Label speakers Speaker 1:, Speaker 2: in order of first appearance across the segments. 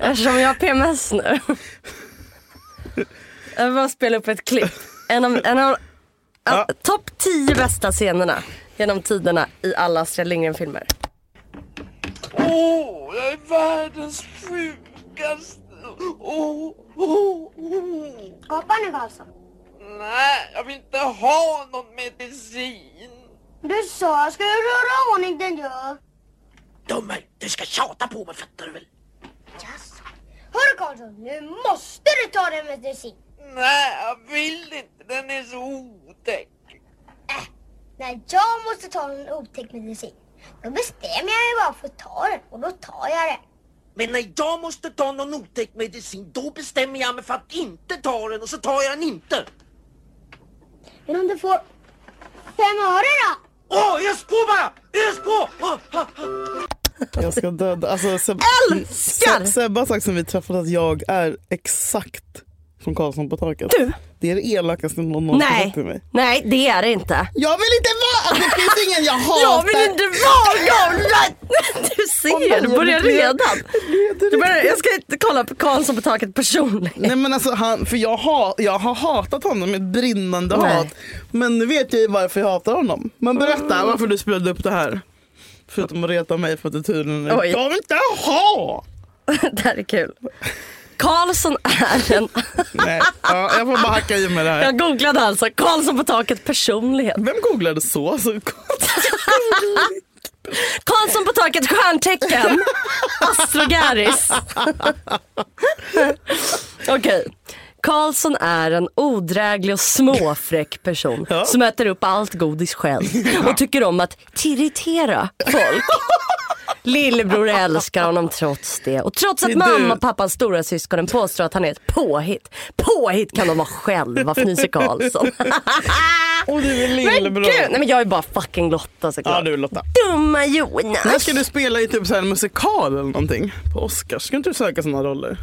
Speaker 1: Eftersom jag har PMS nu. Jag vill bara spela upp ett klipp. En av, en av
Speaker 2: Ja.
Speaker 1: ja. topp 10 bästa scenerna genom tiderna i alla Astrid Lindgren-filmer.
Speaker 3: Åh, jag är världens sjukaste. Åh, åh, åh.
Speaker 4: Gapar nu alltså. Karlsson?
Speaker 3: Nej, jag vill inte ha någon medicin.
Speaker 4: Du sa jag skulle röra ordning den gör.
Speaker 3: Dummer, du ska tjata på mig fattar du väl?
Speaker 4: Jaså? Hörru Karlsson, nu måste du ta den medicin.
Speaker 3: Nej, jag vill inte. Den är så otäck.
Speaker 4: När Äh, jag måste ta en otäck medicin, då bestämmer jag mig bara för att ta den och då tar jag den.
Speaker 3: Men när jag måste ta någon otäck medicin, då bestämmer jag mig för att inte ta den och så tar jag den inte.
Speaker 4: Men om du får fem öre då?
Speaker 3: Åh, ös på bara! Ös på! Ah, ah, ah.
Speaker 2: Jag ska döda. Alltså, Seb-
Speaker 1: Älskar!
Speaker 2: Se- Sebbe har sagt sen vi träffades att jag är exakt som Karlsson på taket.
Speaker 1: Du?
Speaker 2: Det är det elakaste någon någonsin
Speaker 1: Nej,
Speaker 2: sagt till mig.
Speaker 1: nej det är det inte.
Speaker 2: Jag vill inte vara... Alltså, det finns ingen jag hatar.
Speaker 1: Jag vill inte vara någon! Nej, Du ser, du börjar redan. Du börjar, jag ska inte kolla på Karlsson på taket personligen.
Speaker 2: Nej men alltså han, för jag har, jag har hatat honom med ett brinnande
Speaker 1: Nej.
Speaker 2: hat. Men nu vet jag ju varför jag hatar honom. Men berätta varför du spelade upp det här. Förutom att reta mig för att du tydligen
Speaker 1: Oj.
Speaker 2: Jag vill inte ha!
Speaker 1: Det här är kul. Karlsson är en...
Speaker 2: Nej, ja, jag får bara hacka i mig det här.
Speaker 1: Jag googlade alltså Karlsson på taket personlighet.
Speaker 2: Vem googlade så? Alltså,
Speaker 1: Karlsson på taket stjärntecken. Astrogaris. Okej. Karlsson är en odräglig och småfräck person
Speaker 2: Ja.
Speaker 1: som äter upp allt godis själv och tycker om att irritera folk. Lillebror älskar honom trots det och trots att
Speaker 2: Det är du.
Speaker 1: mamma och pappas stora syskonen påstår att han är ett påhitt. Påhitt kan de vara själva fnyser Karlsson.
Speaker 2: och du är
Speaker 1: Men
Speaker 2: lillebror.
Speaker 1: gud, nej men jag är bara fucking Lotta såklart.
Speaker 2: Ja du Lotta.
Speaker 1: Dumma Jonas.
Speaker 2: När ska du spela i typ så här en musikal eller någonting? På Oscars? Ska inte du söka sådana roller?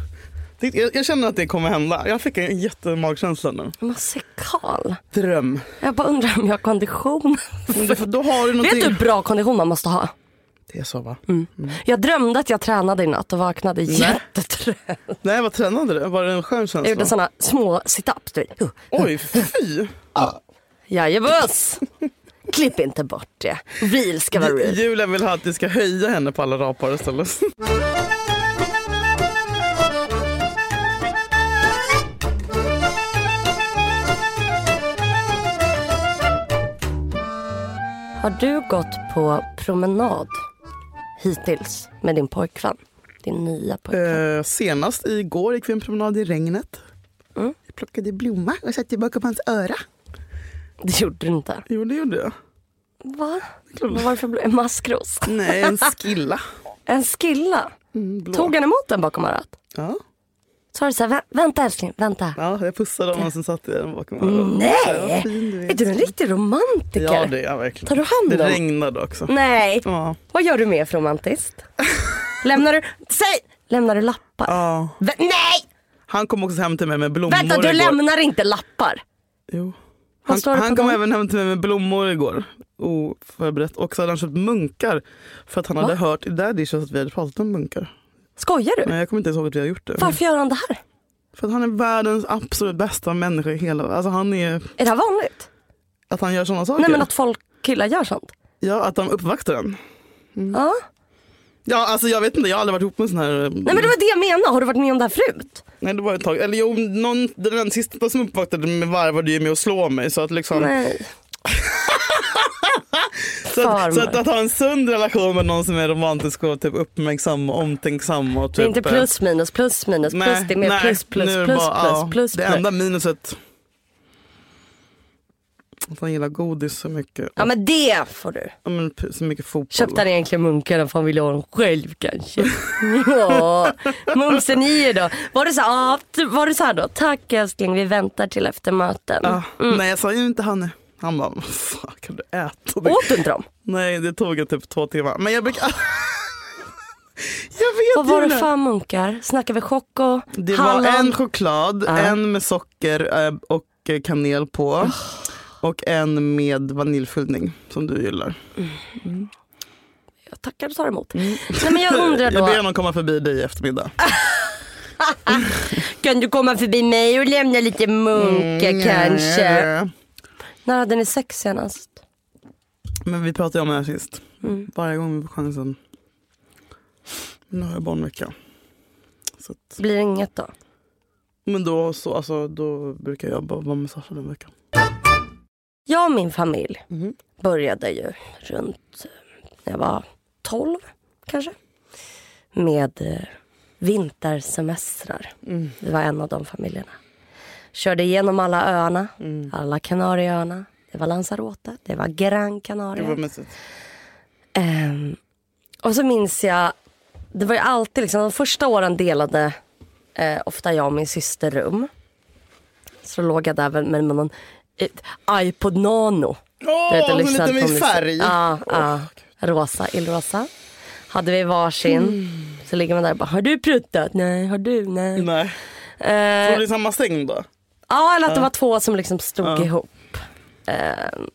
Speaker 2: Det, jag, jag känner att det kommer hända. Jag fick en jättemagkänsla nu.
Speaker 1: Musikal?
Speaker 2: Dröm.
Speaker 1: Jag bara undrar om jag har kondition.
Speaker 2: Men då- Då har du någonting.
Speaker 1: Vet du Mm. hur bra kondition man måste ha?
Speaker 2: Det är så va? Mm.
Speaker 1: Jag drömde att jag tränade i natt och vaknade jättetrött.
Speaker 2: Nej, vad tränade du? Var det en skön
Speaker 1: Jag gjorde
Speaker 2: känsla?
Speaker 1: såna små sit-ups. du vet. Uh,
Speaker 2: Oj, fy!
Speaker 1: Jajabuss! Klipp inte bort det. Real ska vara real.
Speaker 2: Julia vill ha att du ska höja henne på alla rapar istället.
Speaker 1: Har du gått på promenad hittills med din pojkvän? Din nya pojkvän?
Speaker 2: Eh, senast igår gick vi en promenad i regnet.
Speaker 1: Mm.
Speaker 2: Jag plockade blomma och satte bakom hans öra.
Speaker 1: Det gjorde du inte.
Speaker 2: Jo, det gjorde jag.
Speaker 1: Va? Vad var det för bl- en maskros?
Speaker 2: Nej, en Mm, skilla.
Speaker 1: En skilla? Tog han emot den bakom örat?
Speaker 2: Ja,
Speaker 1: Så var det så här, "Vä- vänta älskling, vänta.
Speaker 2: ja jag pussade honom och sen satte jag den bakom örat. Ja,
Speaker 1: Mm. Nej!
Speaker 2: fin du är.
Speaker 1: Är du en riktig romantiker?
Speaker 2: Ja, det är jag verkligen.
Speaker 1: Tar du hand
Speaker 2: Det
Speaker 1: om- Mm.
Speaker 2: regnade också.
Speaker 1: Nej.
Speaker 2: Ja.
Speaker 1: Vad gör du mer för romantiskt? lämnar du, säg! Lämnar du lappar?
Speaker 2: Ja.
Speaker 1: Vä- nej!
Speaker 2: Han kom också hem till mig med blommor
Speaker 1: Vänta, du
Speaker 2: igår.
Speaker 1: lämnar inte lappar.
Speaker 2: Jo.
Speaker 1: Vad
Speaker 2: Han,
Speaker 1: står det på
Speaker 2: han kom
Speaker 1: dem?
Speaker 2: även hem till mig med blommor igår. Oförberett. Och så hade han köpt munkar. För att han hade hört i Daddish att vi hade pratat om munkar.
Speaker 1: Skojar du?
Speaker 2: Nej, jag kommer inte ens ihåg att vi har gjort det.
Speaker 1: Varför gör han det här?
Speaker 2: För att han är världens absolut bästa människa i hela Alltså han är...
Speaker 1: Är det här vanligt?
Speaker 2: Att han gör sådana saker.
Speaker 1: Nej men att folk, killar gör sånt.
Speaker 2: Ja, att de uppvaktar en. Mm.
Speaker 1: Ja.
Speaker 2: Ja, alltså jag vet inte. Jag har aldrig varit ihop med en sån här...
Speaker 1: Nej
Speaker 2: eh,
Speaker 1: men det var det jag menade, har du varit med om det här förut?
Speaker 2: Nej, det var ett tag. Eller jo, någon, den sista som uppvaktade mig varvade ju med att slå mig. Så att liksom...
Speaker 1: Nej.
Speaker 2: Så, att, så att,
Speaker 1: Farmor.
Speaker 2: att ha en sund relation med någon som är romantisk och typ uppmärksam och omtänksam. Och typ,
Speaker 1: Det är inte
Speaker 2: eh,
Speaker 1: plus minus, plus minus, plus det är mer plus plus
Speaker 2: nu är
Speaker 1: plus
Speaker 2: det
Speaker 1: plus
Speaker 2: bara, ja,
Speaker 1: plus.
Speaker 2: Det enda minuset att han gillar godis så mycket.
Speaker 1: Ja men det får du.
Speaker 2: Ja, men p- så mycket fotboll.
Speaker 1: Köpte han egentligen munkarna för han ville ha dem själv kanske? ja, mumsen i då. Var det så här, ah, t- var det så här då? Tack älskling, vi väntar till efter möten.
Speaker 2: Ja,
Speaker 1: Mm.
Speaker 2: Nej jag sa ju inte han nu. Han bara, "Vad fan kan du äta det?
Speaker 1: Åt du inte dem?
Speaker 2: Nej det tog ju typ två timmar. Men jag brukar... jag
Speaker 1: Ah. Vad
Speaker 2: vet
Speaker 1: var det
Speaker 2: inte.
Speaker 1: för munkar? Snackar vi choco?
Speaker 2: Det var
Speaker 1: hallon? Ah.
Speaker 2: en choklad,
Speaker 1: Ja.
Speaker 2: en med socker eh, och eh, kanel på.
Speaker 1: Ah.
Speaker 2: Och en med vaniljfyllning som du gillar.
Speaker 1: Jag tackar och tar emot. Nej, men jag undrar
Speaker 2: Mm. Jag ber
Speaker 1: då, Ah,
Speaker 2: honom komma förbi dig i eftermiddag.
Speaker 1: kan du komma förbi mig och lämna lite
Speaker 2: Mm.
Speaker 1: munka kanske? När hade ni sex senast?
Speaker 2: Men vi pratade ju om det här sist.
Speaker 1: Mm.
Speaker 2: Varje gång vi får chansen. Nu har jag barnvecka. Så att,
Speaker 1: Blir det inget då?
Speaker 2: men då, så, alltså, då brukar jag bara vara med Sasha den veckan.
Speaker 1: Jag och min familj
Speaker 2: Mhm.
Speaker 1: började ju runt när jag var 12 kanske. Med eh, vintersemestrar.
Speaker 2: Mm.
Speaker 1: Vi var en av de familjerna. Körde igenom alla öarna.
Speaker 2: Mm.
Speaker 1: Alla Kanarieöarna. Det var Lanzarote, det var Gran Canaria.
Speaker 2: Det var mysigt.
Speaker 1: Ehm, och så minns jag, det var ju alltid liksom, de första åren delade eh, ofta jag och min syster rum. Så då låg jag där med, med någon eh, iPod Nano.
Speaker 2: Åh,
Speaker 1: och
Speaker 2: så
Speaker 1: lyssnade på
Speaker 2: lite med
Speaker 1: musik.
Speaker 2: färg.
Speaker 1: Ja, ja. Rosa, illrosa. Hade vi varsin.
Speaker 2: Mm.
Speaker 1: Så ligger man där och bara, har du pruttat? Nej, har du? Nej.
Speaker 2: Nej.
Speaker 1: Eh,
Speaker 2: Var det i samma säng då?
Speaker 1: Ja, eller att det var två som liksom stod ihop. Ehm,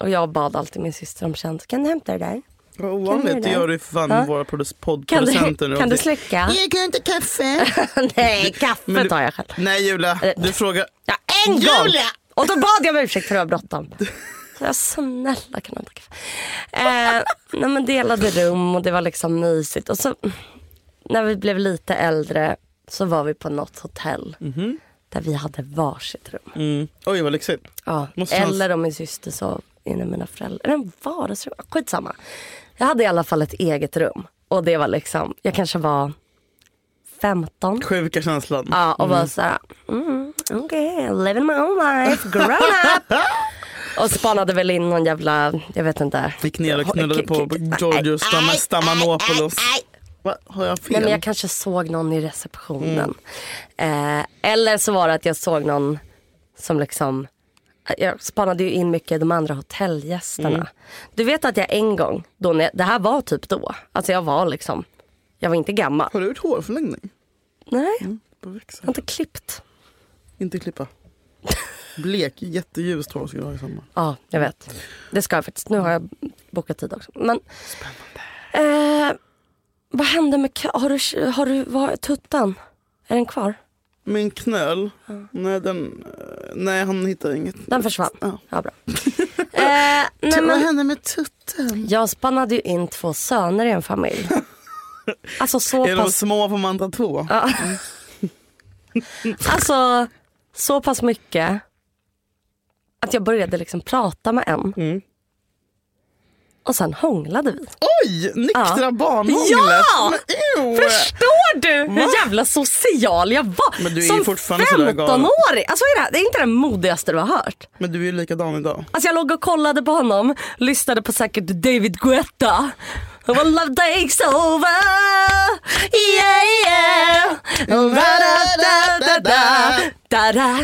Speaker 1: och jag bad alltid min syster om tjänst. Kan du hämta det där?
Speaker 2: Vad
Speaker 1: Kan du
Speaker 2: ovanligt.
Speaker 1: det?
Speaker 2: Det gör du fan
Speaker 1: Ja.
Speaker 2: våra produc-
Speaker 1: Kan
Speaker 2: poddproducenter
Speaker 1: du,
Speaker 2: nu.
Speaker 1: kan du släcka?
Speaker 2: Jag kan inte kaffe.
Speaker 1: Nej,
Speaker 2: Men
Speaker 1: kaffe
Speaker 2: du-
Speaker 1: tar jag själv.
Speaker 2: Nej Julia,
Speaker 1: Eh.
Speaker 2: du frågar.
Speaker 1: Ja, en gång!
Speaker 2: Julia!
Speaker 1: Och då bad jag om ursäkt för att jag var bråttom. Så jag snälla kan jag inte kaffe? Eh, nej men delade rum och det var liksom mysigt. Och så när vi blev lite äldre så var vi på något hotell. Där vi hade varsitt rum.
Speaker 2: Mhm. Mm. Oj vad lyxigt.
Speaker 1: Ja,
Speaker 2: Måste man-
Speaker 1: eller om min syster sov inne med mina föräldrar. Eller vardagsrum, skitsamma. Jag hade i alla fall ett eget rum. Och det var liksom, jag kanske var 15.
Speaker 2: Sjuka känslan.
Speaker 1: Ja, och bara såhär, mm, okej, living my own life, grown up. och spanade väl in någon jävla, jag vet inte.
Speaker 2: Gick ner och knullade på Giorgio Stam- Stamanopoulos. Va? Har jag fel?
Speaker 1: Nej men jag kanske såg någon i receptionen.
Speaker 2: Mm.
Speaker 1: Eh, eller så var det att jag såg någon som liksom, jag spanade ju in mycket de andra hotellgästerna.
Speaker 2: Mm.
Speaker 1: Du vet att jag en gång, då när, det här var typ då, alltså jag var liksom, jag var inte gammal.
Speaker 2: Har du gjort hårförlängning? Mm.
Speaker 1: Nej,
Speaker 2: På
Speaker 1: jag
Speaker 2: växeln.
Speaker 1: har inte klippt.
Speaker 2: Inte klippa. Blek, jätteljust hår ska du ha i sommar.
Speaker 1: Ja, jag vet. Det ska jag faktiskt. Nu har jag bokat tid också. Men, Spännande. Eh, vad hände med ka- Har du, har du vad, tuttan? Är den kvar?
Speaker 2: Min knöl, nej, den, eh, nej han hittar inget.
Speaker 1: Den försvann?
Speaker 2: Ja.
Speaker 1: Ja, bra. Eh, nej,
Speaker 2: Vad
Speaker 1: men,
Speaker 2: hände med tutten?
Speaker 1: jag spannade ju in två söner i en familj. Alltså så
Speaker 2: Är de
Speaker 1: pass,
Speaker 2: små får man ta två.
Speaker 1: alltså, så pass mycket att jag började liksom prata med en.
Speaker 2: Mm.
Speaker 1: Och sen hånglade vi.
Speaker 2: Oj, nyktra
Speaker 1: Ja.
Speaker 2: barnhånglet.
Speaker 1: Ja!
Speaker 2: Men, ew.
Speaker 1: Förstår du hur jävla social jag var?
Speaker 2: Men du är ju
Speaker 1: Som
Speaker 2: fortfarande sådär galen.
Speaker 1: 15-åring. Alltså, vad är det, här? det är inte det modigaste du har hört.
Speaker 2: Men du är ju likadan idag.
Speaker 1: Alltså, jag låg och kollade på honom, lyssnade på säkert David Guetta. When love takes over, yeah yeah.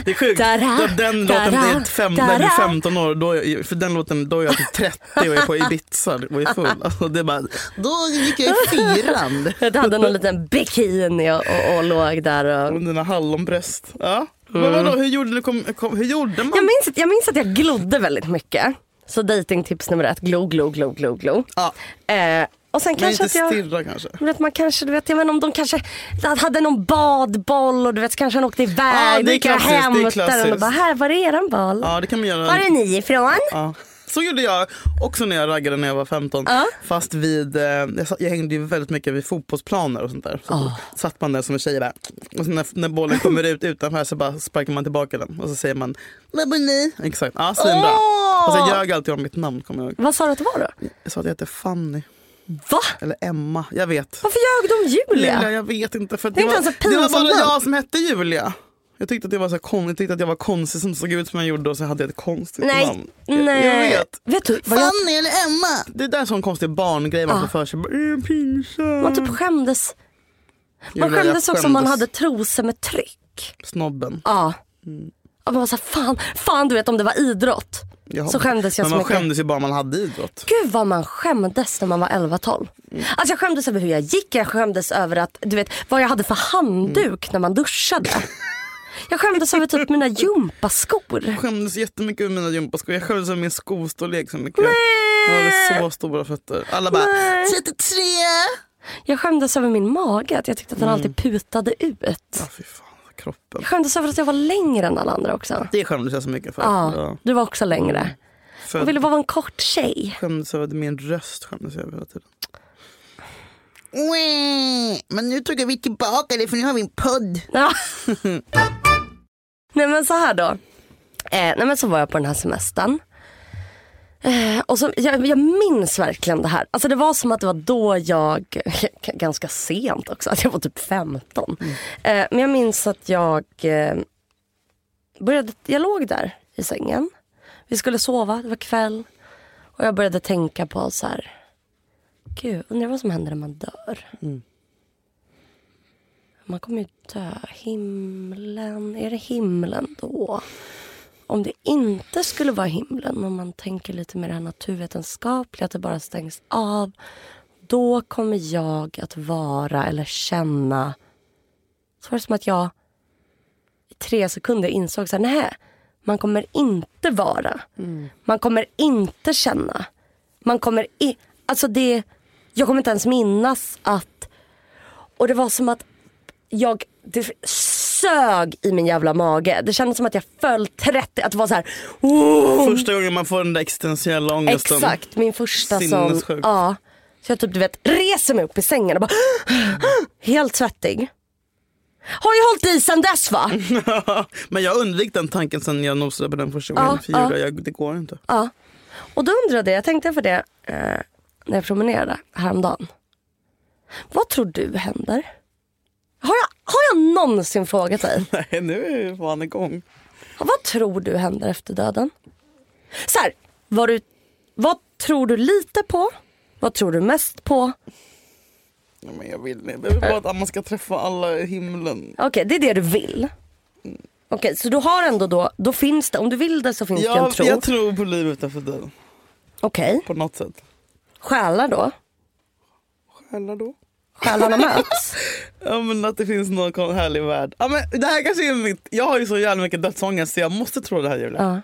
Speaker 2: Det är sjukt. Då den låten, det är ett fem, när du är 15 år, då är, för den låten, då är jag typ 30 och är på Ibiza och är full. Alltså, det är bara, då gick jag i fyran.
Speaker 1: Du hade någon liten bikini och, och, och låg där. Och...
Speaker 2: Om dina hallonbröst. Ja. Men vadå, hur gjorde, du, kom, kom, hur gjorde man?
Speaker 1: Jag, minns att, jag minns att jag glodde väldigt mycket. Så datingtips nummer ett, glo, glo, glo, glo, glo.
Speaker 2: Ja,
Speaker 1: Eh, och sen
Speaker 2: men
Speaker 1: kanske
Speaker 2: inte
Speaker 1: att jag...
Speaker 2: stirra kanske.
Speaker 1: Men Att man kanske, du vet, jag menar om de kanske hade någon badboll och du vet så kanske han åkte
Speaker 2: Ja, det är
Speaker 1: iväg. gick jag och
Speaker 2: klassiskt, det är
Speaker 1: hämtade den och
Speaker 2: klassiskt.
Speaker 1: bara, här var är eran boll?
Speaker 2: Ja, det kan man göra.
Speaker 1: Var är ni ifrån?
Speaker 2: Ja. Så gjorde jag också när jag raggade när jag var 15.
Speaker 1: Ja.
Speaker 2: Fast vid, eh, jag, satt, jag hängde ju väldigt mycket vid fotbollsplaner och sånt där. Så
Speaker 1: Ah.
Speaker 2: satt man där som en tjej bara, och sen när, när bollen kommer ut utanför så bara sparkar man tillbaka den och så säger man Var bor ni? Exakt, ja svinbra.
Speaker 1: Åh!
Speaker 2: Och så ljög jag alltid om mitt namn kommer jag ihåg.
Speaker 1: Vad sa du att det var då?
Speaker 2: Jag sa att jag hette Fanny
Speaker 1: Va?
Speaker 2: eller Emma, jag vet.
Speaker 1: Varför ljög du om
Speaker 2: Julia,
Speaker 1: Julia?
Speaker 2: jag vet inte. För
Speaker 1: Det är
Speaker 2: det,
Speaker 1: inte ens ett
Speaker 2: var, det var
Speaker 1: pinsamt
Speaker 2: bara
Speaker 1: namn.
Speaker 2: jag som hette Julia. Jag tyckte att, det var så kon, jag tyckte att jag var konstig som såg ut som jag gjorde och så hade jag ett konstigt
Speaker 1: Nej,
Speaker 2: namn. Jag-
Speaker 1: nej.
Speaker 2: Jag vet.
Speaker 1: Vet du, vad jag,
Speaker 2: eller Emma? Det där är sån konstig barngrej
Speaker 1: Ah.
Speaker 2: man får för sig. Bara, "Eh, Pinsamt.
Speaker 1: man typ skämdes. Man
Speaker 2: Julia, jag
Speaker 1: skämdes också om man
Speaker 2: skämdes.
Speaker 1: hade trosor med tryck.
Speaker 2: Snobben.
Speaker 1: Ja.
Speaker 2: Mm.
Speaker 1: Och man var såhär, fan, fan du vet om det var idrott.
Speaker 2: Jaha.
Speaker 1: Så skämdes jag
Speaker 2: Men
Speaker 1: så
Speaker 2: man
Speaker 1: mycket.
Speaker 2: skämdes ju bara man hade idrott.
Speaker 1: Gud vad man skämdes när man var 11-12.
Speaker 2: Mm.
Speaker 1: Alltså jag skämdes över hur jag gick, jag skämdes över att, du vet, vad jag hade för handduk
Speaker 2: Mm.
Speaker 1: när man duschade. Jag skämdes över typ mina gympaskor.
Speaker 2: Jag skämdes jättemycket över mina gympaskor. Jag skämdes över min skostorlek så mycket. Hon hade så stora fötter. Alla bara 33!
Speaker 1: Jag skämdes över min mage, att jag tyckte att
Speaker 2: Mm.
Speaker 1: den alltid putade ut.
Speaker 2: Ja, fy fan, kroppen.
Speaker 1: Jag skämdes över att jag var längre än alla andra också.
Speaker 2: Det skämdes jag så mycket för.
Speaker 1: Ja, du var också längre.
Speaker 2: För
Speaker 1: Jag ville bara vara en kort tjej.
Speaker 2: skämdes över min röst skämdes jag över hela tiden. Wee! Men nu tog vi tillbaka det för nu har vi en podd.
Speaker 1: Ja. nej men så här då. Eh, nej men så var jag på den här semestern. Eh, och så, jag, jag minns verkligen det här. Alltså det var som att det var då jag, ganska sent också, att jag var typ 15. Eh, men jag minns att jag eh, började, jag låg där i sängen. Vi skulle sova, det var kväll. Och jag började tänka på så här. Gud, undrar vad som händer när man dör. Man kommer ju dö. Himlen, är det himlen då? Om det inte skulle vara himlen, om man tänker lite mer det här naturvetenskapliga, att det bara stängs av. Då kommer jag att vara eller känna... Så var det som att jag i tre sekunder insåg så här, nej, man kommer inte vara. Man kommer inte känna. Man kommer i, alltså det, jag kommer inte ens minnas att... Och det var som att jag det sög i min jävla mage. Det kändes som att jag föll 30, att det var så här. "Ooh!"
Speaker 2: Första gången man får den där existentiella ångesten.
Speaker 1: Exakt, min första som...
Speaker 2: Sinnessjukt.
Speaker 1: Ja. Så jag typ du vet reser mig upp i sängen och bara helt svettig. Har ju hållit i sen dess va?
Speaker 2: Men jag undvek den tanken sen jag nosade på den första gången.
Speaker 1: Ja,
Speaker 2: för
Speaker 1: ja.
Speaker 2: Julia, jag, det går inte.
Speaker 1: Ja. Och då undrade jag, jag tänkte för det eh, när jag promenerade häromdagen. Vad tror du händer? Har jag, har jag någonsin frågat dig?
Speaker 2: Nej, nu är fan igång.
Speaker 1: Vad tror du händer efter döden? Så här, vad, du, vad tror du lite på? Vad tror du mest på?
Speaker 2: Ja, men jag vill inte. Jag vill bara att man ska träffa alla i himlen.
Speaker 1: Okej, det är det du vill.
Speaker 2: Mm.
Speaker 1: Okej, så du har ändå då, då finns det, om du vill det så finns det en
Speaker 2: Jag,
Speaker 1: tro.
Speaker 2: jag tror på livet efter döden.
Speaker 1: Okej,
Speaker 2: På något sätt.
Speaker 1: själar då?
Speaker 2: Själar då?
Speaker 1: Själarna möts?
Speaker 2: Ja men att det finns någon kon- härlig värld. Ja, men det här kanske är mitt... Jag har ju så jävla mycket dödsångest så jag måste tro det här Julia.
Speaker 1: Ja.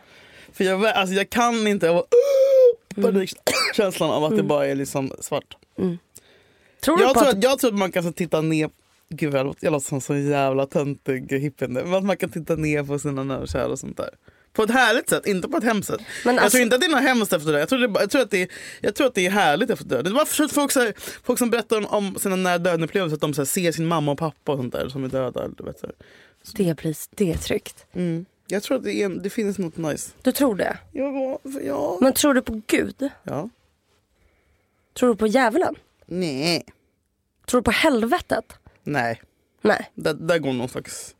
Speaker 2: För jag, vä- alltså, jag kan inte... Jag bara,
Speaker 1: Mm.
Speaker 2: Panikkänslan av att det bara är liksom svart.
Speaker 1: Tror du
Speaker 2: Jag
Speaker 1: på
Speaker 2: tror,
Speaker 1: att...
Speaker 2: att, jag tror att man kan så titta ner... Gud jag låter, jag låter som så jävla töntig hippie nu. Men att man kan titta ner på sina nära och kära och sånt där. På ett härligt sätt, inte på ett hemskt sätt.
Speaker 1: Men
Speaker 2: jag
Speaker 1: alltså-
Speaker 2: tror inte att det är något hemskt efter det. Jag tror, det, är bara- jag tror, att, det är, jag tror att det är härligt efter döden. Det var förstås folk, så här, folk som berättar om, om sina nära döden-upplevelser, att de så här, ser sin mamma och pappa och sånt där som är döda. eller Du vet, så här.
Speaker 1: Det, blir, det är tryggt.
Speaker 2: Mm. Jag tror att det, är, en- det finns något nice.
Speaker 1: Du tror det?
Speaker 2: Ja, för ja.
Speaker 1: Men tror du på Gud?
Speaker 2: ja.
Speaker 1: Tror du på djävulen?
Speaker 2: Nej.
Speaker 1: Tror du på helvetet?
Speaker 2: Nej,
Speaker 1: Nej.
Speaker 2: där, där går någon slags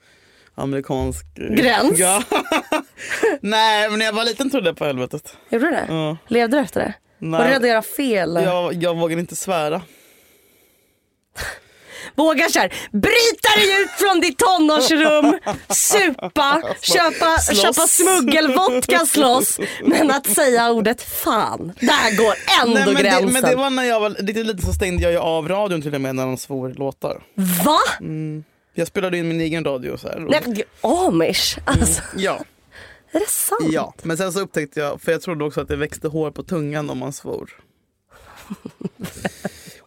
Speaker 2: amerikansk... eh,
Speaker 1: Gräns?
Speaker 2: Ja. Nej, men när jag var liten trodde jag på helvetet.
Speaker 1: Gjorde du det?
Speaker 2: Ja.
Speaker 1: Levde du efter det?
Speaker 2: Nej.
Speaker 1: Var du rädd att göra fel?
Speaker 2: Jag, jag vågade inte svära.
Speaker 1: Vågar såhär, bryta dig ut från ditt tonårsrum, supa, köpa,
Speaker 2: slåss.
Speaker 1: köpa smuggelvodka, slåss. Men att säga ordet fan, där går ändå
Speaker 2: men, det,
Speaker 1: gränsen.
Speaker 2: men det var när jag var riktigt liten så stängde jag ju av radion till och med när de svor låtar.
Speaker 1: Va?
Speaker 2: Jag spelade in min egen radio och så här.
Speaker 1: Nej, men gud, amish? Alltså,
Speaker 2: Ja,
Speaker 1: är det sant?
Speaker 2: ja, men sen så upptäckte jag, för jag trodde också att det växte hår på tungan om man svor.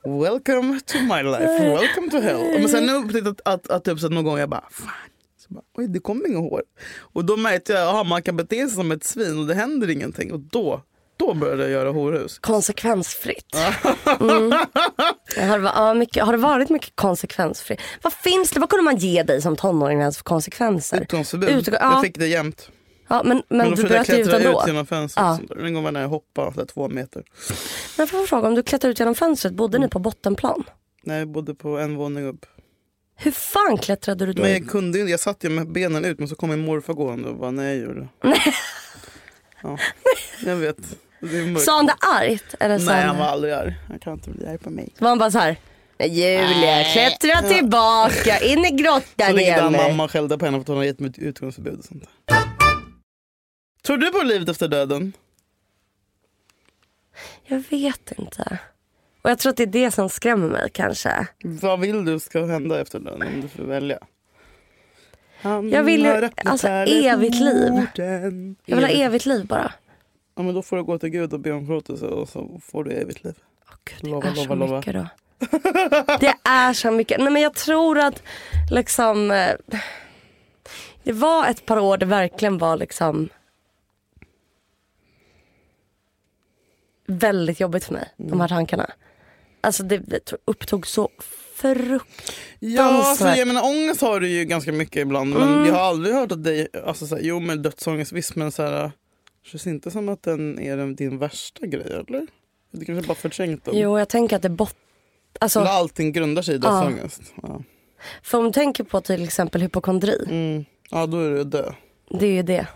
Speaker 2: Welcome to my life, welcome to hell. Men sen nu upptäckte jag att, att, att typ så någon gång jag bara, fan. Så bara, Oj, det kom inga hår. Och då märkte jag att man kan bete sig som ett svin och det händer ingenting. Och då, då började jag göra horhus.
Speaker 1: Konsekvensfritt. Mm. Har, det, va- ja, mycket, har det varit mycket konsekvensfritt? Vad finns det? Vad kunde man ge dig som tonåring ens för konsekvenser?
Speaker 2: Utgångsförbud.
Speaker 1: Utgå-
Speaker 2: Jag
Speaker 1: ja,
Speaker 2: fick det jämt.
Speaker 1: ja, men, men,
Speaker 2: Men då
Speaker 1: du
Speaker 2: försökte jag
Speaker 1: bröt dig ut
Speaker 2: klättra
Speaker 1: ändå?
Speaker 2: ut genom fönstret.
Speaker 1: Ja.
Speaker 2: sånt där. En gång var det när jag hoppade så här, två meter.
Speaker 1: Men jag får fråga, om du klättrade ut genom fönstret, bodde ni på bottenplan?
Speaker 2: Nej, jag bodde på en våning upp.
Speaker 1: Hur fan klättrade du då?
Speaker 2: Men jag kunde ju inte. Jag satt ju med benen ut men så kom min morfar gående och bara nej Julia. Ja, jag vet. Det är mörkt.
Speaker 1: Sa han det argt? Eller sa
Speaker 2: Nej,
Speaker 1: han,
Speaker 2: han var aldrig arg. Han kan inte bli arg på mig.
Speaker 1: var han bara så här? "Nej, Julia, klättra tillbaka, in i
Speaker 2: Så
Speaker 1: grottan
Speaker 2: ringde
Speaker 1: igen.
Speaker 2: han mamma och skällde på henne för att hon hade gett mig ett utgångsförbud och sånt. Tror du på livet efter döden?
Speaker 1: Jag vet inte. Och jag tror att det är det som skrämmer mig kanske.
Speaker 2: Vad vill du ska hända efter döden om du får välja? Han
Speaker 1: Jag vill ju-
Speaker 2: har öppnat
Speaker 1: alltså,
Speaker 2: kärleken
Speaker 1: evigt liv.
Speaker 2: mot en.
Speaker 1: Jag vill ha evigt liv bara.
Speaker 2: Ja, men då får du gå till Gud och be om förlåtelse och så får du evigt liv.
Speaker 1: Åh, Gud, det
Speaker 2: Lova,
Speaker 1: är så
Speaker 2: lova, lova.
Speaker 1: mycket då. Det är så mycket. Nej, men jag tror att liksom, eh, det var ett par år det verkligen var liksom väldigt jobbigt för mig, de här tankarna. Alltså det, det upptog så frukt.
Speaker 2: Ja,
Speaker 1: Dansar.
Speaker 2: alltså, jag menar, ångest har du ju ganska mycket ibland. Men
Speaker 1: Mm.
Speaker 2: jag har aldrig hört att dig, alltså, så här, jo men dödsångest visst men så här, känns inte som att den är den- din värsta grej eller? Du kanske bara förträngt den?
Speaker 1: Jo, jag tänker att det bott... Alltså,
Speaker 2: Eller allting grundar sig i dödsångest? Ja.
Speaker 1: för om du tänker på till exempel hypokondri.
Speaker 2: Mm. ja, då är det dö.
Speaker 1: Det är ju det.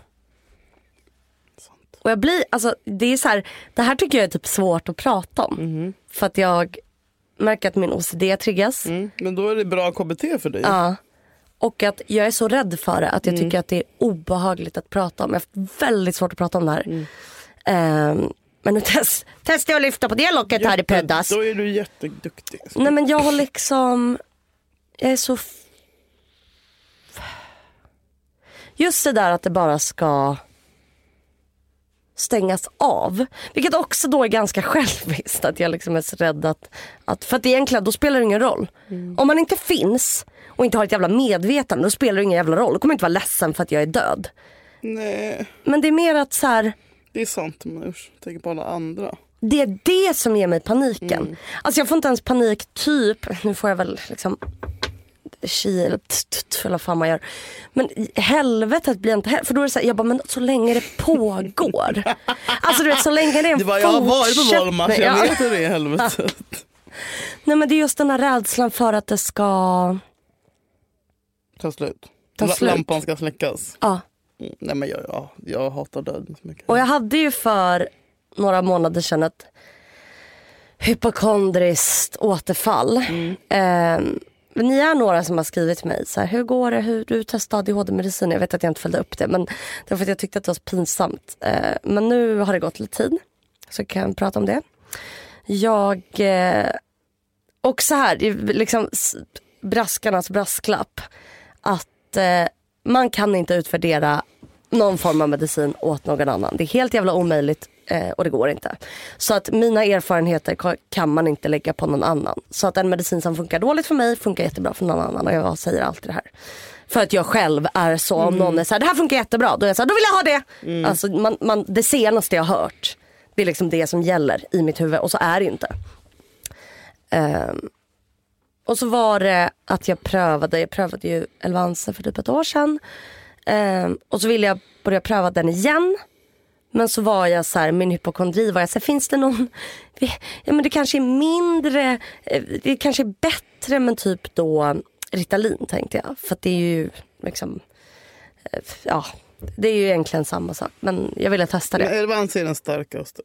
Speaker 1: Och jag blir, alltså det är så här, det här tycker jag är typ svårt att prata om. För att jag märker att min OCD triggas.
Speaker 2: Mhm. Mm. Men då är det bra KBT för dig.
Speaker 1: Ja. Och att jag är så rädd för det att jag
Speaker 2: Mm.
Speaker 1: tycker att det är obehagligt att prata om. Jag har haft väldigt svårt att prata om det här.
Speaker 2: Mm.
Speaker 1: Ehm, men nu test, testar jag att lyfta på det locket här i
Speaker 2: Jätte-
Speaker 1: Puddas.
Speaker 2: Då är du jätteduktig.
Speaker 1: Nej men jag har liksom, jag är så... f- Just det där att det bara ska stängas av. Vilket också då är ganska själviskt att jag liksom är så rädd att, att för att egentligen då spelar det ingen roll. Om man inte finns och inte har ett jävla medvetande då spelar det ingen jävla roll. Då kommer jag inte vara ledsen för att jag är död.
Speaker 2: Nej,
Speaker 1: Men det är mer att så här,
Speaker 2: det är sant. Men usch, jag tänker på alla andra.
Speaker 1: Det är det som ger mig paniken.
Speaker 2: Mm.
Speaker 1: Alltså jag får inte ens panik typ, nu får jag väl liksom chi eller t- t- t- eller vad fan man gör. Men i helvetet blir jag inte heller, för då är det så här, jag bara men så länge det pågår. alltså du vet så länge det är en
Speaker 2: Det var, jag har varit på valmatch, jag
Speaker 1: Ja.
Speaker 2: vet hur det är i helvetet.
Speaker 1: Nej men det är just den här rädslan för att det ska,
Speaker 2: Ta slut.
Speaker 1: Ta
Speaker 2: La-
Speaker 1: slut.
Speaker 2: Lampan ska släckas.
Speaker 1: ja.
Speaker 2: Mm, Nej, men jag, jag, jag hatar döden så mycket.
Speaker 1: Och jag hade ju för några månader sedan ett hypokondriskt återfall. Ehm, men ni är några som har skrivit till mig, så här, hur går det, hur du testar ADHD-medicin? Jag vet att jag inte följde upp det, men det var för att jag tyckte att det var så pinsamt. Ehm, men nu har det gått lite tid, så jag kan prata om det. Jag, eh, och så här, det är liksom s- braskarnas brasklapp, att eh, man kan inte utvärdera någon form av medicin åt någon annan. Det är helt jävla omöjligt eh, och det går inte. Så att mina erfarenheter ka- kan man inte lägga på någon annan. Så att en medicin som funkar dåligt för mig funkar jättebra för någon annan och jag säger alltid det här. För att jag själv är så, om någon är så här, det här funkar jättebra, då är jag så här, då vill jag ha det. Alltså man, man, det senaste jag har hört, det är liksom det som gäller i mitt huvud och så är det inte. Ehm, och så var det att jag prövade, jag prövade ju Elvanse för typ ett år sedan. Ehm, och så ville jag börja pröva den igen. Men så var jag så här, min hypokondri var jag så här, finns det någon, ja men det kanske är mindre, eh, det kanske är bättre men typ då Ritalin tänkte jag. För att det är ju liksom, eh, ja det är ju egentligen samma sak. Men jag ville testa det.
Speaker 2: Men Elvans är den starkaste.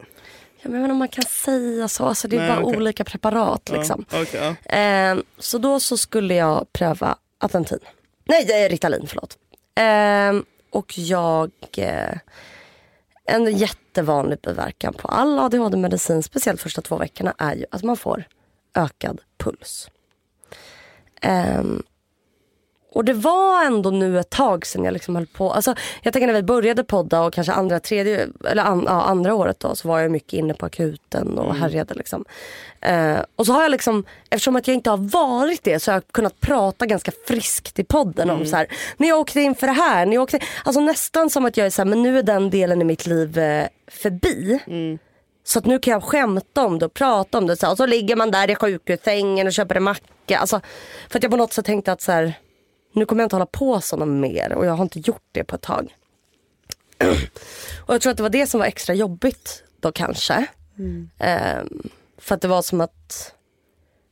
Speaker 1: Ja, men jag menar, man kan säga så, alltså, det är
Speaker 2: Nej,
Speaker 1: bara
Speaker 2: okej.
Speaker 1: olika preparat liksom.
Speaker 2: Ja, okej, ja.
Speaker 1: Ehm, så då så skulle jag pröva Atentin. Nej, det är Ritalin, förlåt. Ehm, och jag... Eh, en jättevanlig biverkan på all ADHD-medicin, speciellt första två veckorna, är ju att man får ökad puls. Ehm, och det var ändå nu ett tag sedan jag liksom höll på. Alltså, jag tänker när vi började podda och kanske andra, tredje, eller an, ja, andra året då så var jag mycket inne på akuten och härjade liksom. Eh, och så har jag liksom, eftersom att jag inte har varit det så har jag kunnat prata ganska friskt i podden om så här, när jag åkte in för det här, när jag åkte, alltså nästan som att jag är så här, men nu är den delen i mitt liv eh, förbi. Så att nu kan jag skämta om det och prata om det. Så här, och så ligger man där i sjukhussängen och köper en macka. Alltså, för att jag på något sätt tänkte att så här, nu kommer jag inte hålla på sådana mer och jag har inte gjort det på ett tag. och jag tror att det var det som var extra jobbigt då kanske. Ehm, för att det var som att,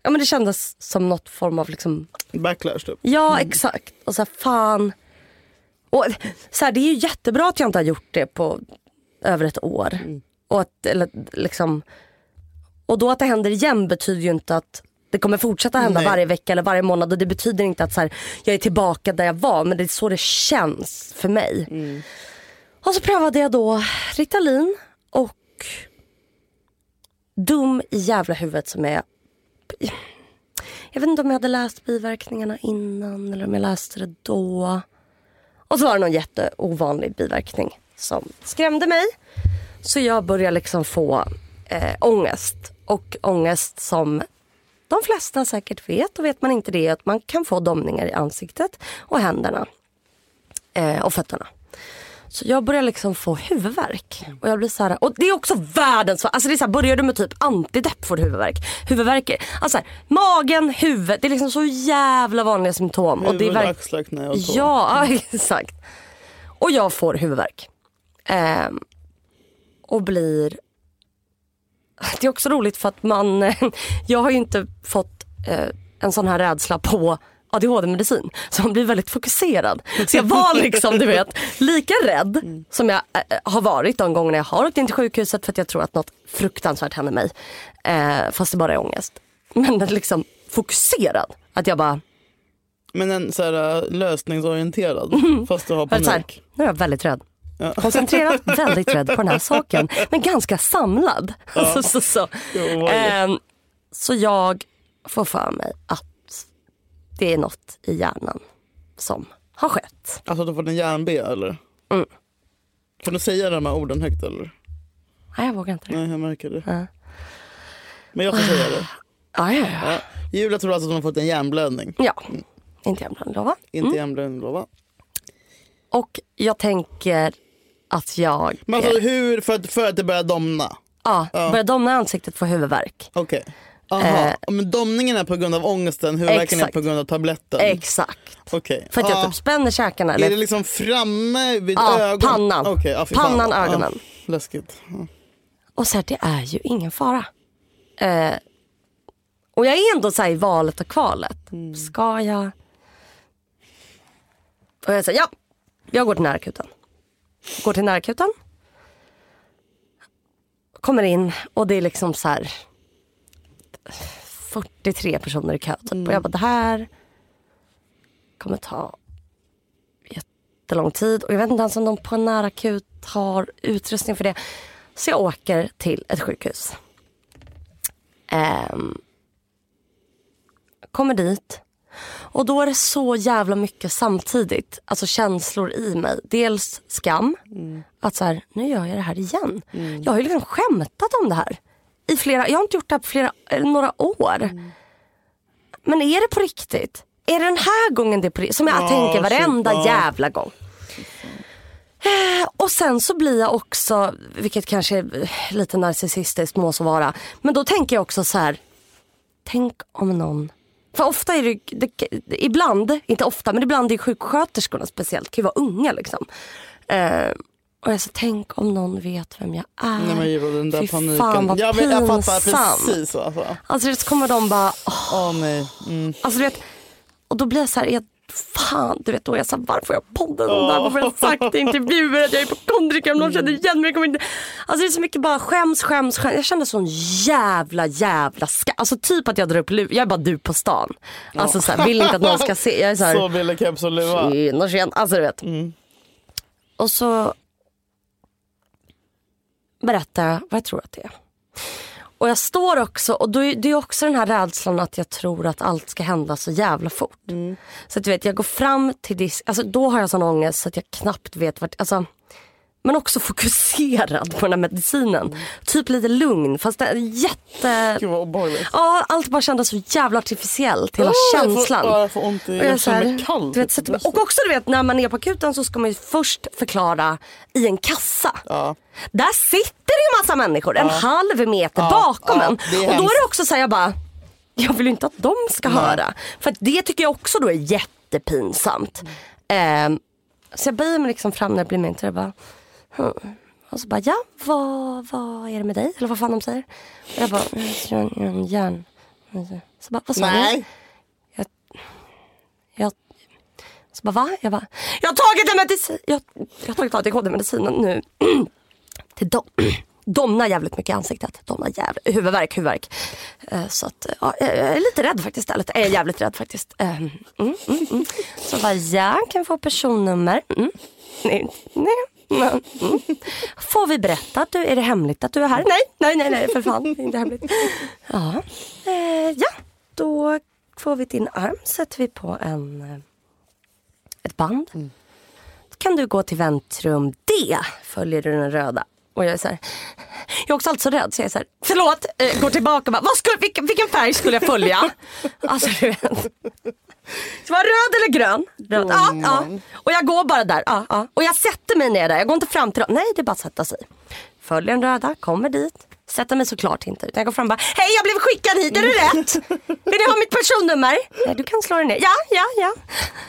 Speaker 1: ja men det kändes som något form av liksom
Speaker 2: Backlash typ.
Speaker 1: Ja, exakt. Och så här, fan. Och, så här, det är ju jättebra att jag inte har gjort det på över ett år. Och, att, eller, liksom, och då att det händer igen betyder ju inte att det kommer fortsätta hända
Speaker 2: Nej.
Speaker 1: varje vecka eller varje månad. Och det betyder inte att så här, jag är tillbaka där jag var. Men det är så det känns för mig. Och så prövade jag då Ritalin och dum i jävla huvudet som är jag vet inte om jag hade läst biverkningarna innan eller om jag läste det då. Och så var det någon jätteovanlig biverkning som skrämde mig. Så jag börjar liksom få eh, ångest. Och ångest som de flesta säkert vet och vet man inte det är att man kan få domningar i ansiktet och händerna eh, och fötterna. Så jag börjar liksom få huvudvärk. Och jag blir så här, och det är också världens... Alltså det är så här, börjar du med typ antidepp får du huvudvärk. Huvudvärk, är- alltså så här, magen, huvud. Det är liksom så jävla vanliga symptom. Och det är
Speaker 2: Huvud,
Speaker 1: verk-
Speaker 2: axlar, knä och tå.
Speaker 1: Ja, exakt. Och jag får huvudvärk. Ehm, och blir... Det är också roligt för att man... Jag har ju inte fått eh, en sån här rädsla på ADHD-medicin. Så man blir väldigt fokuserad. Så jag var liksom, du vet, lika rädd som jag eh, har varit de gångerna jag har åkt in till sjukhuset för att jag tror att något fruktansvärt händer mig. Eh, fast det bara är ångest. Men liksom fokuserad. Att jag bara...
Speaker 2: Men en så här, äh, lösningsorienterad fast du har
Speaker 1: För att så här,
Speaker 2: panik.
Speaker 1: nu är jag väldigt rädd. Koncentrerad, väldigt rädd på den här saken. Men ganska samlad. så, så, så.
Speaker 2: Jo, vad är
Speaker 1: Ehm, så jag får för mig att det är något i hjärnan som har skett.
Speaker 2: Alltså du har fått en järnbe eller?
Speaker 1: Mm.
Speaker 2: Kan du säga de här orden högt eller?
Speaker 1: Nej, jag vågar inte det.
Speaker 2: Nej jag märker det.
Speaker 1: Ja.
Speaker 2: Men jag får säga det.
Speaker 1: Ja, ja, ja.
Speaker 2: Ja. Julia tror alltså att hon har fått en hjärnblödning.
Speaker 1: ja. inte jag bland lova.
Speaker 2: Inte hjärnblödning lova.
Speaker 1: Och jag tänker att jag
Speaker 2: Men alltså hur, för att, för att det börjar domna?
Speaker 1: ja, börjar domna i ansiktet, får huvudvärk.
Speaker 2: Okej. Aha. Men domningen är på grund av ångesten, huvudvärken är
Speaker 1: Eh. exakt.
Speaker 2: på grund av tabletten?
Speaker 1: Mm. Exakt.
Speaker 2: Okej.
Speaker 1: För att jag
Speaker 2: Ja.
Speaker 1: typ spänner käkarna.
Speaker 2: Är det
Speaker 1: Eller,
Speaker 2: liksom framme vid
Speaker 1: Ja,
Speaker 2: ögonen?
Speaker 1: pannan.
Speaker 2: Okej, ja, fy fan.
Speaker 1: Pannan,
Speaker 2: Ja,
Speaker 1: ögonen.
Speaker 2: läskigt. Ja.
Speaker 1: och så här, det är ju ingen fara. Eh, och jag är ändå så här i valet och kvalet. Ska jag? Och jag säger ja, jag går till närakuten. Går till närakuten. Kommer in och det är liksom så här 43 personer i kö. Typ. Och jag bara det här kommer ta jättelång tid. Och jag vet inte ens om de på en närakut har utrustning för det. Så jag åker till ett sjukhus. Ehm, kommer dit. Och då är det så jävla mycket samtidigt. Alltså känslor i mig. Dels skam. Att så här, nu gör jag det här igen. Jag har ju liksom skämtat om det här. I flera, jag har inte gjort det här på flera, eller några år. Men är det på riktigt? Är det den här gången det är på riktigt? Som jag
Speaker 2: Ja,
Speaker 1: tänker varenda
Speaker 2: shit, ja.
Speaker 1: jävla gång. Eh, Och sen så blir jag också, vilket kanske är eh, lite narcissistiskt må så vara. Men då tänker jag också så här. Tänk om någon för ofta är det, det, ibland, inte ofta, men ibland är sjuksköterskorna speciellt, kan ju vara unga liksom. Eh, och jag så tänk om någon vet vem jag är.
Speaker 2: Nej men Julia, den där
Speaker 1: Fy
Speaker 2: paniken.
Speaker 1: fan vad
Speaker 2: jag, vet-
Speaker 1: pinsam.
Speaker 2: jag fattar precis. Alltså.
Speaker 1: Alltså så kommer de bara, åh,
Speaker 2: Åh nej. Mm.
Speaker 1: alltså du vet. Och då blir jag så här, jag, fan du vet, då är jag så här, varför har jag podden om det här?
Speaker 2: Åh.
Speaker 1: Varför har jag sagt i intervjuer att jag är hypokondriker? Om någon känner igen mig, jag kommer inte. Alltså det är så mycket bara skäms, skäms, skäms. Jag känner sån jävla, jävla skam. Alltså typ att jag drar upp lu- jag är bara du på stan. Alltså så här, vill inte att någon ska se. Jag är så här,
Speaker 2: Så ville keps och luva.
Speaker 1: Tjena, tjena. Alltså du vet. Och så berättar jag vad jag tror att det är. Och jag står också, och då är, det är också den här rädslan att jag tror att allt ska hända så jävla fort. Så att du vet, jag går fram till disk, alltså då har jag sån ångest så att jag knappt vet vart, alltså men också fokuserad på den här medicinen. Typ lite lugn fast det är jätte...
Speaker 2: Gud vad obehagligt.
Speaker 1: Ja, allt bara kändes så jävla artificiellt, hela
Speaker 2: Åh,
Speaker 1: känslan.
Speaker 2: Jag får, åh, jag får ont i...
Speaker 1: Och
Speaker 2: Jag
Speaker 1: så här,
Speaker 2: känner mig kall.
Speaker 1: Du vet, sätter mig, och också du vet när man är på akuten så ska man ju först förklara i en kassa.
Speaker 2: Ja.
Speaker 1: Där sitter det ju massa människor en halv meter bakom
Speaker 2: ja,
Speaker 1: en.
Speaker 2: det är
Speaker 1: och då
Speaker 2: hemskt.
Speaker 1: är det också såhär jag bara, jag vill ju inte att de ska höra. För att det tycker jag också då är jättepinsamt. Ehm, så jag böjer mig liksom fram när det blir min tur och bara, "Hm." och så bara ja, vad, vad är det med dig? Eller vad fan de säger. Och jag bara, "Mm, "Jag har en hjärn. Så bara, vad sa du?
Speaker 2: Nej.
Speaker 1: Jag, så bara va? Jag bara, jag har tagit en medicin. Jag, jag har tagit ADHD-medicinen nu. Det dom, domnar jävligt mycket i ansiktet. Domnar jävligt, huvudvärk, huvudvärk. Eh, Så att, eh, ja, jag är lite rädd faktiskt. Eller jag är jävligt rädd faktiskt. Eh, Mm, mm, mm. Så bara, ja, kan vi få personnummer? Mm. Nej, nej. nej, Mm. Får vi berätta att du, är det hemligt att du är här? Nej, nej, nej, nej för fan, det är inte hemligt. Ja, eh, ja. då får vi din arm, sätter vi på en, eh, ett band. Då kan du gå till väntrum D, följer du den röda Och jag är så här, jag är också alltid så rädd så jag är så här, förlåt, eh, går tillbaka och bara, vad skulle, vilken, vilken färg skulle jag följa? alltså du vet. Så var röd eller grön? Röd. Ja, ja. Och jag går bara där. Ja, ja. Och jag sätter mig ner där. Jag går inte fram till dem. Nej, det är bara att sätta sig. Följer den röda, kommer dit. Sätter mig såklart inte. Utan jag går fram och bara, hej jag blev skickad hit, är det rätt? Vill ni ha mitt personnummer? Nej, du kan slå dig ner. Ja, ja, ja.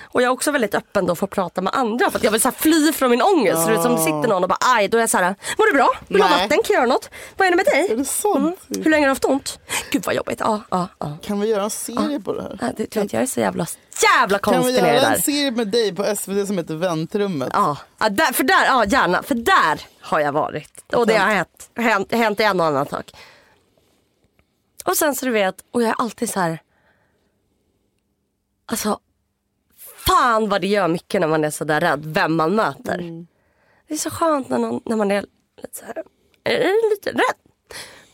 Speaker 1: Och jag är också väldigt öppen då för att prata med andra. För att jag vill så här fly från min ångest. Så det är som det sitter någon och bara, aj, då är jag så här, mår du bra? Vill du ha
Speaker 5: Nej.
Speaker 1: vatten? Kan jag göra något? Vad är det med dig?
Speaker 2: Är det sant?
Speaker 1: Hur länge har du haft ont? Gud vad jobbigt. Ja, ja, ja.
Speaker 2: Kan vi göra en serie på det här?
Speaker 1: Ja, Det tror jag inte. Jag är så jävla, jävla
Speaker 2: Kan vi
Speaker 1: konstig nere
Speaker 2: göra
Speaker 1: Ah. där. Ah.
Speaker 2: en serie med dig på SVT som heter Väntrummet?
Speaker 1: Ja, ja, där, för där, ja gärna. För där har jag varit. Och det har hänt, hänt, hänt i en och annan sak. Och sen så du vet, och jag är alltid så här. Alltså, fan vad det gör mycket när man är så där rädd, vem man möter. Det är så skönt när, någon, när man är lite så här, är lite rädd.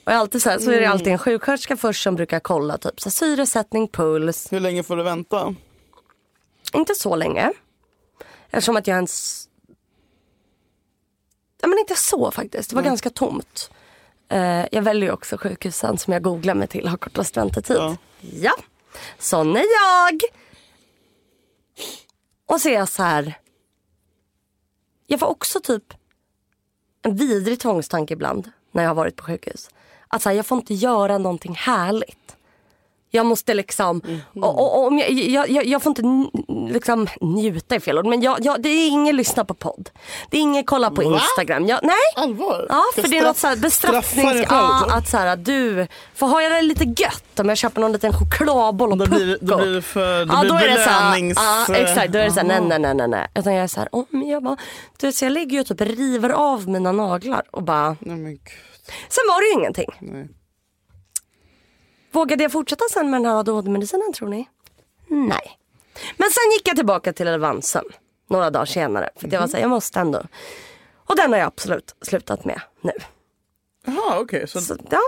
Speaker 1: Och jag är alltid så, här, så är det alltid en sjuksköterska först som brukar kolla typ så här, syresättning, puls,
Speaker 2: Hur länge får du vänta?
Speaker 1: inte så länge. Eftersom att jag ens... Ja, men inte så faktiskt. Det var ganska tomt. Eh, jag väljer ju också sjukhusen som jag googlar mig till har kortast väntetid.
Speaker 2: Ja.
Speaker 1: Ja. sån är jag. Och så är jag så här. Jag får också typ en vidrig tvångstanke ibland när jag har varit på sjukhus. Att så här, jag får inte göra någonting härligt. Jag måste liksom, och, och, och, om jag, jag, jag, jag får inte n- liksom njuta i fel ord, men jag, jag, det är ingen lyssna på podd. Det är ingen kolla på Instagram. Jag, nej.
Speaker 2: Allvar?
Speaker 1: Ja,
Speaker 2: Ska
Speaker 1: för det är något
Speaker 2: straff-
Speaker 1: så här
Speaker 2: straffa dig
Speaker 1: bestraffnings... Ah,
Speaker 2: själv,
Speaker 1: Ja,
Speaker 2: så?
Speaker 1: att så här, du, får ha jag det lite gött om jag köper någon liten chokladboll och
Speaker 2: Då blir det- då
Speaker 1: ah, pucko?
Speaker 2: blir det för- då
Speaker 1: ja,
Speaker 2: blir
Speaker 1: då
Speaker 2: det
Speaker 1: är det så här,
Speaker 2: belönings-
Speaker 1: ja, exakt. Då är det så här, nej, nej, nej, nej, nej. Utan jag är så här, om jag bara, du vet, så jag ligger ju och typ river av mina naglar och bara,
Speaker 2: Nej men gud.
Speaker 1: sen var det ju ingenting.
Speaker 2: Nej.
Speaker 1: Vågade jag fortsätta sen med den här ADHD-medicinen tror ni? Nej. Men sen gick jag tillbaka till Advansen några dagar senare. För att jag var såhär, jag måste ändå. Och den har jag absolut slutat med nu.
Speaker 2: Jaha okej, så
Speaker 1: Så, ja.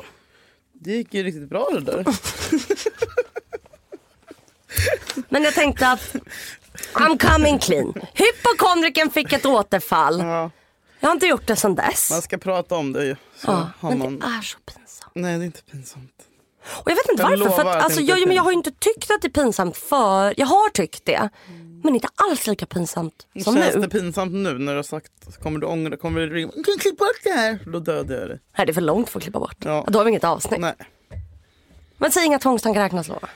Speaker 2: det gick ju riktigt bra det där.
Speaker 1: Men jag tänkte att I'm coming clean. Hypokondriken fick ett återfall.
Speaker 2: Ja.
Speaker 1: Jag har inte gjort det sedan dess.
Speaker 2: Man ska prata om det ju. Så
Speaker 1: Ja,
Speaker 2: har
Speaker 1: men
Speaker 2: man...
Speaker 1: det är så pinsamt.
Speaker 2: Nej det är inte pinsamt.
Speaker 1: Och jag vet inte
Speaker 2: Jag
Speaker 1: varför. För
Speaker 2: lovar
Speaker 1: att,
Speaker 2: att
Speaker 1: alltså,
Speaker 2: det inte
Speaker 1: jag,
Speaker 2: är
Speaker 1: men jag har ju inte tyckt att det är pinsamt för Jag har tyckt det. Men inte alls lika pinsamt som
Speaker 2: Mm. Känns
Speaker 1: nu.
Speaker 2: det pinsamt nu när du har sagt, kommer du ångra, kommer du ringa, "Klipp- klipp bort det här, då dödar jag dig.
Speaker 1: Nej, det är för långt för att klippa bort.
Speaker 2: Ja.
Speaker 1: Då har vi inget avsnitt.
Speaker 2: Nej,
Speaker 1: Men säg inga tvångstankar räknas Lova.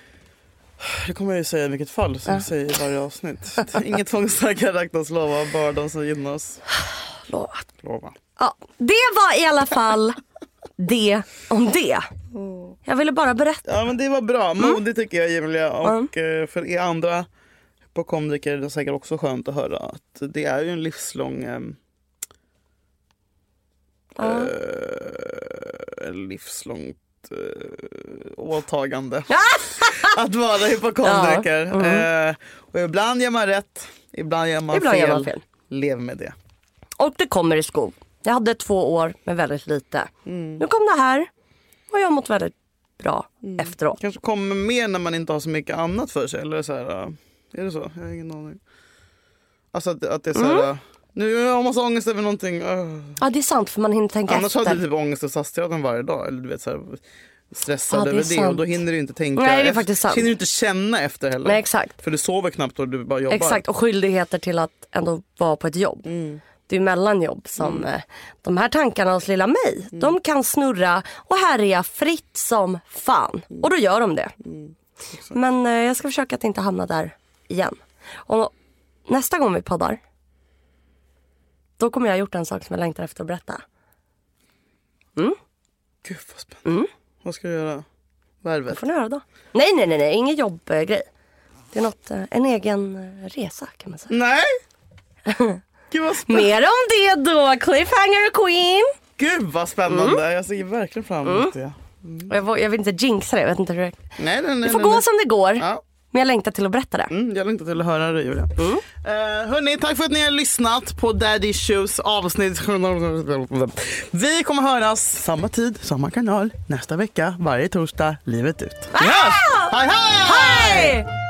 Speaker 2: det kommer jag ju säga i vilket fall som jag säger i varje avsnitt. Inget tvångstankar räknas lova, bara de som gynnar oss.
Speaker 1: Lova.
Speaker 2: Lova.
Speaker 1: Ja, det var i alla fall det om det.
Speaker 2: Mm.
Speaker 1: Jag ville bara berätta.
Speaker 2: Ja men det var bra,
Speaker 1: Mm.
Speaker 2: modigt tycker jag Julia och eh, för er andra hypokondriker är det säkert också skönt att höra att det är ju en livslång eh, em,
Speaker 1: Ja.
Speaker 2: eh, livslångt eh, åtagande
Speaker 1: Ah!
Speaker 2: att vara hypokondriker. Eh, och ibland gör man rätt, ibland gör
Speaker 1: Mm.
Speaker 2: man,
Speaker 1: Ibland gör
Speaker 2: fel.
Speaker 1: man fel.
Speaker 2: Lev med det.
Speaker 1: Och det kommer i skov. Jag hade två år med väldigt lite.
Speaker 2: Mm.
Speaker 1: Nu kom det här och jag har mått väldigt bra
Speaker 2: Mm.
Speaker 1: efteråt.
Speaker 2: Kanske kommer mer när man inte har så mycket annat för sig. Eller så här, eh, är det så? Jag har ingen aning. Alltså att, att det är så
Speaker 1: Mm.
Speaker 2: här, eh, nu har jag massa ångest över någonting. öh.
Speaker 1: Ja det är sant för man hinner tänka
Speaker 2: Annars
Speaker 1: efter.
Speaker 2: har du typ ångest och stressteatern varje dag. Eller du vet så här, stressad
Speaker 1: Ja, det är
Speaker 2: över det. Och
Speaker 1: sant.
Speaker 2: då hinner du inte tänka.
Speaker 1: Nej, det är
Speaker 2: efter-
Speaker 1: faktiskt sant.
Speaker 2: Hinner du inte känna efter heller.
Speaker 1: Nej, exakt.
Speaker 2: För du sover knappt och du bara jobbar.
Speaker 1: Exakt och skyldigheter till att ändå vara på ett jobb. Det är ju mellanjobb som eh, de här tankarna hos lilla mig. De kan snurra och härja fritt som fan. Och då gör de det. Men eh, jag ska försöka att inte hamna där igen. Och nästa gång vi poddar. Då kommer jag ha gjort en sak som jag längtar efter att berätta.
Speaker 2: Gud vad spännande.
Speaker 1: Mm.
Speaker 2: Vad ska du göra? Värvet?
Speaker 1: får ni höra då. Nej nej nej, nej. ingen jobbgrej. Det är något, eh, en egen eh, resa kan man säga.
Speaker 2: Nej! Gud vad, spä...
Speaker 1: Mer om det då, cliffhanger queen!
Speaker 2: Gud vad spännande.
Speaker 1: Mm.
Speaker 2: Jag ser verkligen fram emot det.
Speaker 1: Och jag, vå- jag vill inte jinxa det. Jag vet inte hur det...
Speaker 2: Nej, nej, nej.
Speaker 1: det får
Speaker 2: nej,
Speaker 1: gå
Speaker 2: nej.
Speaker 1: som det går.
Speaker 2: Ja.
Speaker 1: Men jag längtar till att berätta det.
Speaker 2: Mm, jag längtar till att höra det Julia. Mm. hörni, tack för att ni har lyssnat på Daddy Issues avsnitt. Vi kommer höras samma tid, samma kanal nästa vecka, varje torsdag, livet ut. Vi hörs! Hej hej!
Speaker 1: Hej!